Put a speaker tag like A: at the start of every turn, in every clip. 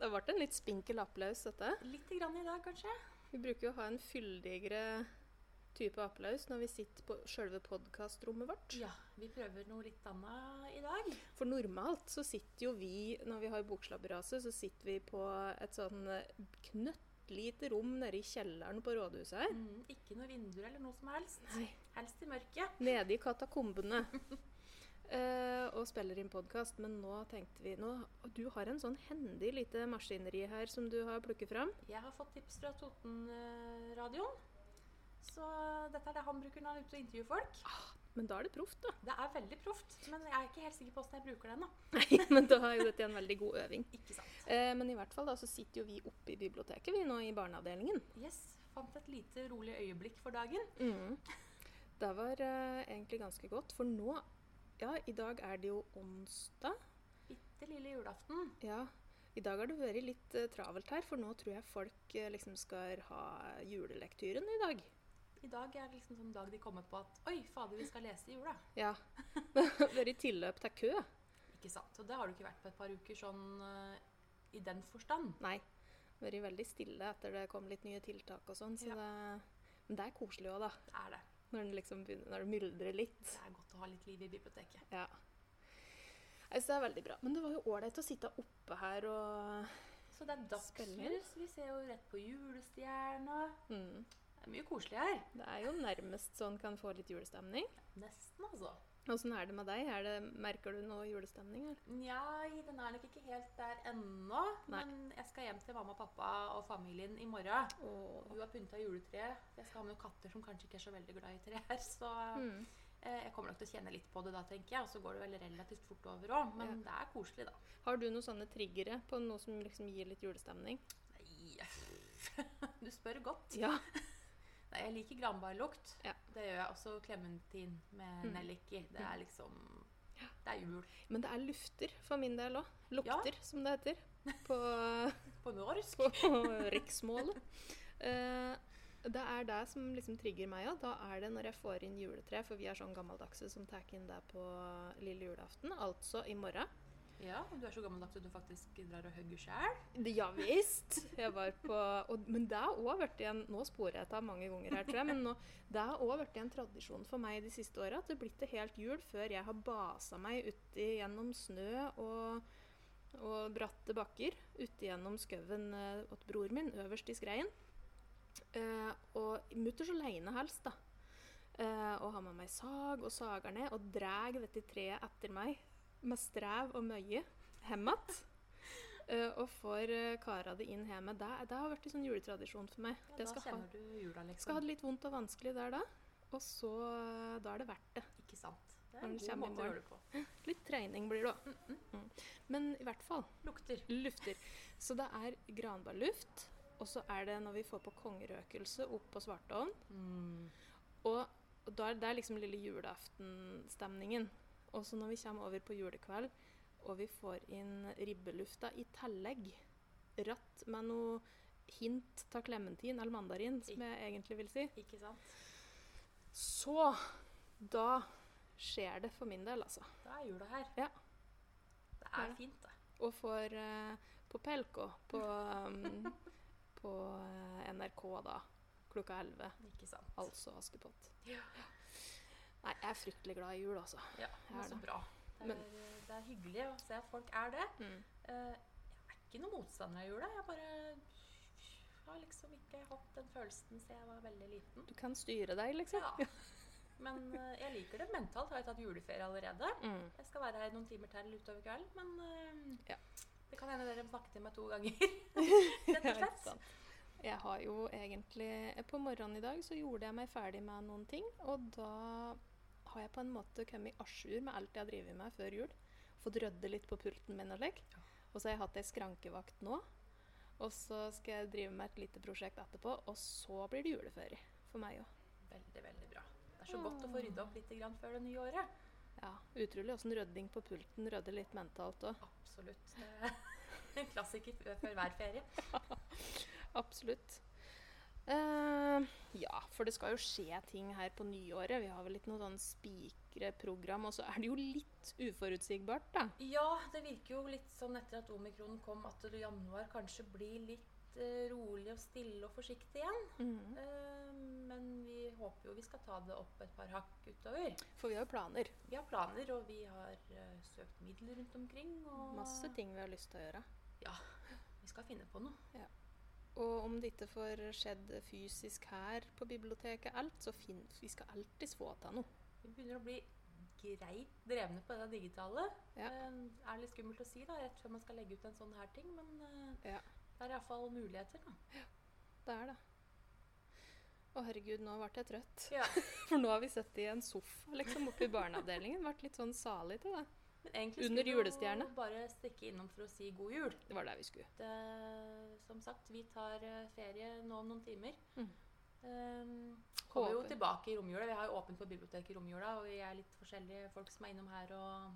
A: det ble en litt spinkel applaus, dette.
B: Litt grann i dag, kanskje.
A: Vi bruker jo å ha en fyldigere type applaus når vi sitter på sjølve podkastrommet vårt.
B: Ja, Vi prøver noe litt annet i dag.
A: For normalt så sitter jo vi, når vi har Bokslabberaset, så sitter vi på et sånn knøttlite rom nede i kjelleren på rådhuset her.
B: Mm, ikke noe vinduer eller noe som helst.
A: Nei.
B: Helst i mørket.
A: Nede i katakombene. Eh, og spiller inn podkast. Men nå tenkte vi nå, Du har en sånn hendig lite maskineri her som du har plukket fram.
B: Jeg har fått tips fra Totenradioen. Så dette er det han bruker når han er ute og intervjuer folk.
A: Men da er det proft, da.
B: Det er veldig proft, men jeg er ikke helt sikker på åssen jeg bruker det ennå.
A: Nei, men da er jo dette en veldig god øving.
B: Ikke sant.
A: Eh, men i hvert fall da, så sitter jo vi oppe i biblioteket vi nå i barneavdelingen.
B: Yes, fant et lite rolig øyeblikk for dagen.
A: Mm. Det var eh, egentlig ganske godt, for nå Ja, i dag er det jo onsdag.
B: Bitte lille julaften.
A: Ja, i dag har det vært litt eh, travelt her, for nå tror jeg folk eh, liksom skal ha julelektyren i dag.
B: I dag er det liksom sånn dag de kommer på at Oi, fader, vi skal lese i jula.
A: Ja. Vært i tilløp til kø.
B: Ikke sant. Og det har du ikke vært på et par uker sånn eh, i den forstand.
A: Nei. Vært veldig stille etter det kom litt nye tiltak og sånn, så
B: Ja.
A: det Men det er koselig òg, da.
B: Det er det.
A: Når det liksom begynner, når det myldrer litt.
B: Det er godt å ha litt liv i biblioteket.
A: Ja. Jeg synes det er veldig bra. Men det var jo ålreit å sitte oppe her og
B: Så det er dagslys. Vi ser jo rett på julestjerna.
A: mm.
B: Det er mye koselig her.
A: Det er jo nærmest sånn kan få litt julestemning.
B: Nesten, altså.
A: Åssen er det med deg? Er det, merker du noe julestemning her?
B: Nja, den er nok ikke helt der ennå.
A: Nei.
B: Men jeg skal hjem til mamma og pappa og familien i morgen.
A: Åh.
B: Hun har pynta juletreet. Jeg skal ha med noen katter som kanskje ikke er så veldig glad i trær. Så
A: Mm.
B: eh, jeg kommer nok til å kjenne litt på det da, tenker jeg. Og så går det vel relativt fort over òg. Men det er koselig, da.
A: Har du noen sånne triggere på noe som liksom gir litt julestemning?
B: Nei, du spør godt.
A: Ja.
B: Nei, jeg liker granbarlukt.
A: Ja. Mm.
B: Det gjør jeg også klementin med nellik i. Det er liksom Det er jul.
A: Men det er lufter for min del òg. Lukter, som det heter. På,
B: På norsk.
A: på riksmålet. Eh, det er det som liksom trigger meg òg. Da er det når jeg får inn juletre, for vi er sånn gammeldagse som tar inn det på lille julaften, altså i morgen.
B: Ja, du er så gammeldags at du faktisk drar og hugger sjæl.
A: Det- Ja visst. Jeg var på og, Men det har òg blitt en Nå sporer jeg av mange ganger her, tror jeg, men nå, det har òg blitt en tradisjon for meg de siste åra. At det blir ikke helt jul før jeg har basa meg uti gjennom snø og, og bratte bakker. Uti gjennom skauen eh, åt bror min, øverst i skreien. Eh, og mutters aleine helst, da. Eh, og har med meg sag og sager ned, og drar dette treet etter meg med strev og møye hjem igjen. Eh, og får eh, kara det inn hjemme. Det, det har vært en sånn juletradisjon for meg.
B: Ja,
A: det
B: da
A: skal ha,
B: kjenner du jula, liksom.
A: skal ha det litt vondt og vanskelig der da. Og så eh, Da er det verdt det.
B: sånn. Ikke sant. Det er
A: Når
B: en
A: den
B: god
A: kommer i
B: måte å gjøre det på.
A: Litt trening blir det òg. Mm. Men i hvert fall
B: Lukter.
A: lufter. Så det er granbarluft. Og så er det når vi får på kongerøkelse opp på Svartåen.
B: Mm.
A: Og da er det er liksom lille julaftenstemningen. Og så når vi kommer over på julekveld, og vi får inn ribbelufta i tillegg, ratt med noe hint av klementin eller mandarin, som jeg egentlig vil si,
B: Ikke sant.
A: så da skjer det for min del, altså.
B: Da er jula her.
A: Ja.
B: Det
A: Ja.
B: er fint, det.
A: Og får eh, på Pelko på, um, på eh, NRK da, klokka 11.
B: Ikke sant.
A: Altså Askepott.
B: Ja.
A: Nei, jeg er fryktelig glad i jul, altså.
B: Ja,
A: Ja,
B: men så
A: da.
B: bra. Det er,
A: Men-
B: det er hyggelig å se at folk er det.
A: Mm.
B: Eh, jeg er ikke noen motstander av jula. Jeg bare har liksom ikke hatt den følelsen siden jeg var veldig liten.
A: Du kan styre deg, liksom.
B: Ja. Men eh, jeg liker det. Mentalt har jeg tatt juleferie allerede.
A: Mm.
B: Jeg skal være her noen timer til utover kvelden, men eh,
A: Ja.
B: det kan hende dere snakker til meg to ganger. Rett
A: Ja,
B: og
A: ikke
B: slett.
A: sant. Jeg har jo egentlig eh, På morgenen i dag så gjorde jeg meg ferdig med noen ting, og da har jeg på en måte kommet à jour med alt jeg har drevet med før jul. Fått rydde litt på pulten min og slik. Og så har jeg hatt ei skrankevakt nå. Og så skal jeg drive med et lite prosjekt etterpå, og så blir det juleferie for meg òg.
B: Veldig, veldig bra. Det er så godt å få rydda opp litt grann før det nye året.
A: Ja, utrolig åssen rydding på pulten rydder litt mentalt òg.
B: Absolutt. Det er En klassiker før hver ferie.
A: Absolutt. Eh, Eh, ja, for det skal jo skje ting her på nyåret. Vi har vel ikke noe sånn spikre program. Og så er det jo litt uforutsigbart, da.
B: Ja, det virker jo litt sånn etter at omikron kom, at det i januar kanskje blir litt eh, rolig og stille og forsiktig igjen.
A: Mhm.
B: Eh, men vi håper jo vi skal ta det opp et par hakk utover.
A: For vi har jo planer.
B: Vi har planer, og vi har eh, søkt midler rundt omkring. Og
A: Masse ting vi har lyst til å gjøre.
B: Vi skal finne på noe.
A: Og om det ikke får skjedd fysisk her på biblioteket alt, så fin vi skal alltids få til noe.
B: Vi begynner å bli greit drevne på det digitale.
A: Ja.
B: Eh, er litt skummelt å si da, rett før man skal legge ut en sånn her ting, men eh,
A: Ja.
B: det er iallfall muligheter. da.
A: Det er det. Å herregud, nå ble jeg trøtt.
B: Ja.
A: For nå har vi sittet i en sofa liksom oppe i barneavdelingen. Vært litt sånn salig til det.
B: Men egentlig
A: Under
B: skulle vi jo
A: julestjerne.
B: bare stikke innom for å si god jul.
A: Det var der vi skulle.
B: Det, eh, som sagt, vi tar eh, ferie nå om noen timer.
A: Mm.
B: Eh, kommer jo
A: Håper.
B: tilbake i romjula. Vi har jo åpent på biblioteket i romjula, og vi er litt forskjellige folk som er innom her. og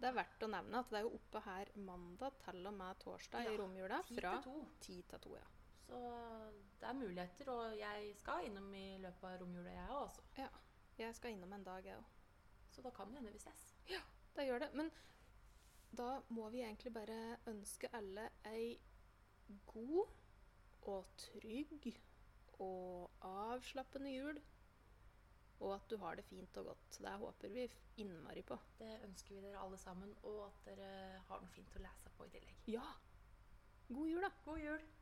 A: Det er verdt å nevne at det er jo oppe her mandag til og med torsdag i
B: Ja,
A: romjula
B: ti
A: fra
B: til to.
A: 10 til 2. Ja.
B: Så det er muligheter, og jeg skal innom i løpet av romjula, jeg òg, altså.
A: Jeg skal innom en dag, jeg òg.
B: Så da kan det hende vi ses.
A: Det gjør det. Men da må vi egentlig bare ønske alle ei god og trygg og avslappende jul. Og at du har det fint og godt. Det håper vi innmari på.
B: Det ønsker vi dere alle sammen, og at dere har noe fint å lese på i tillegg.
A: Ja! God jul, da.
B: God jul!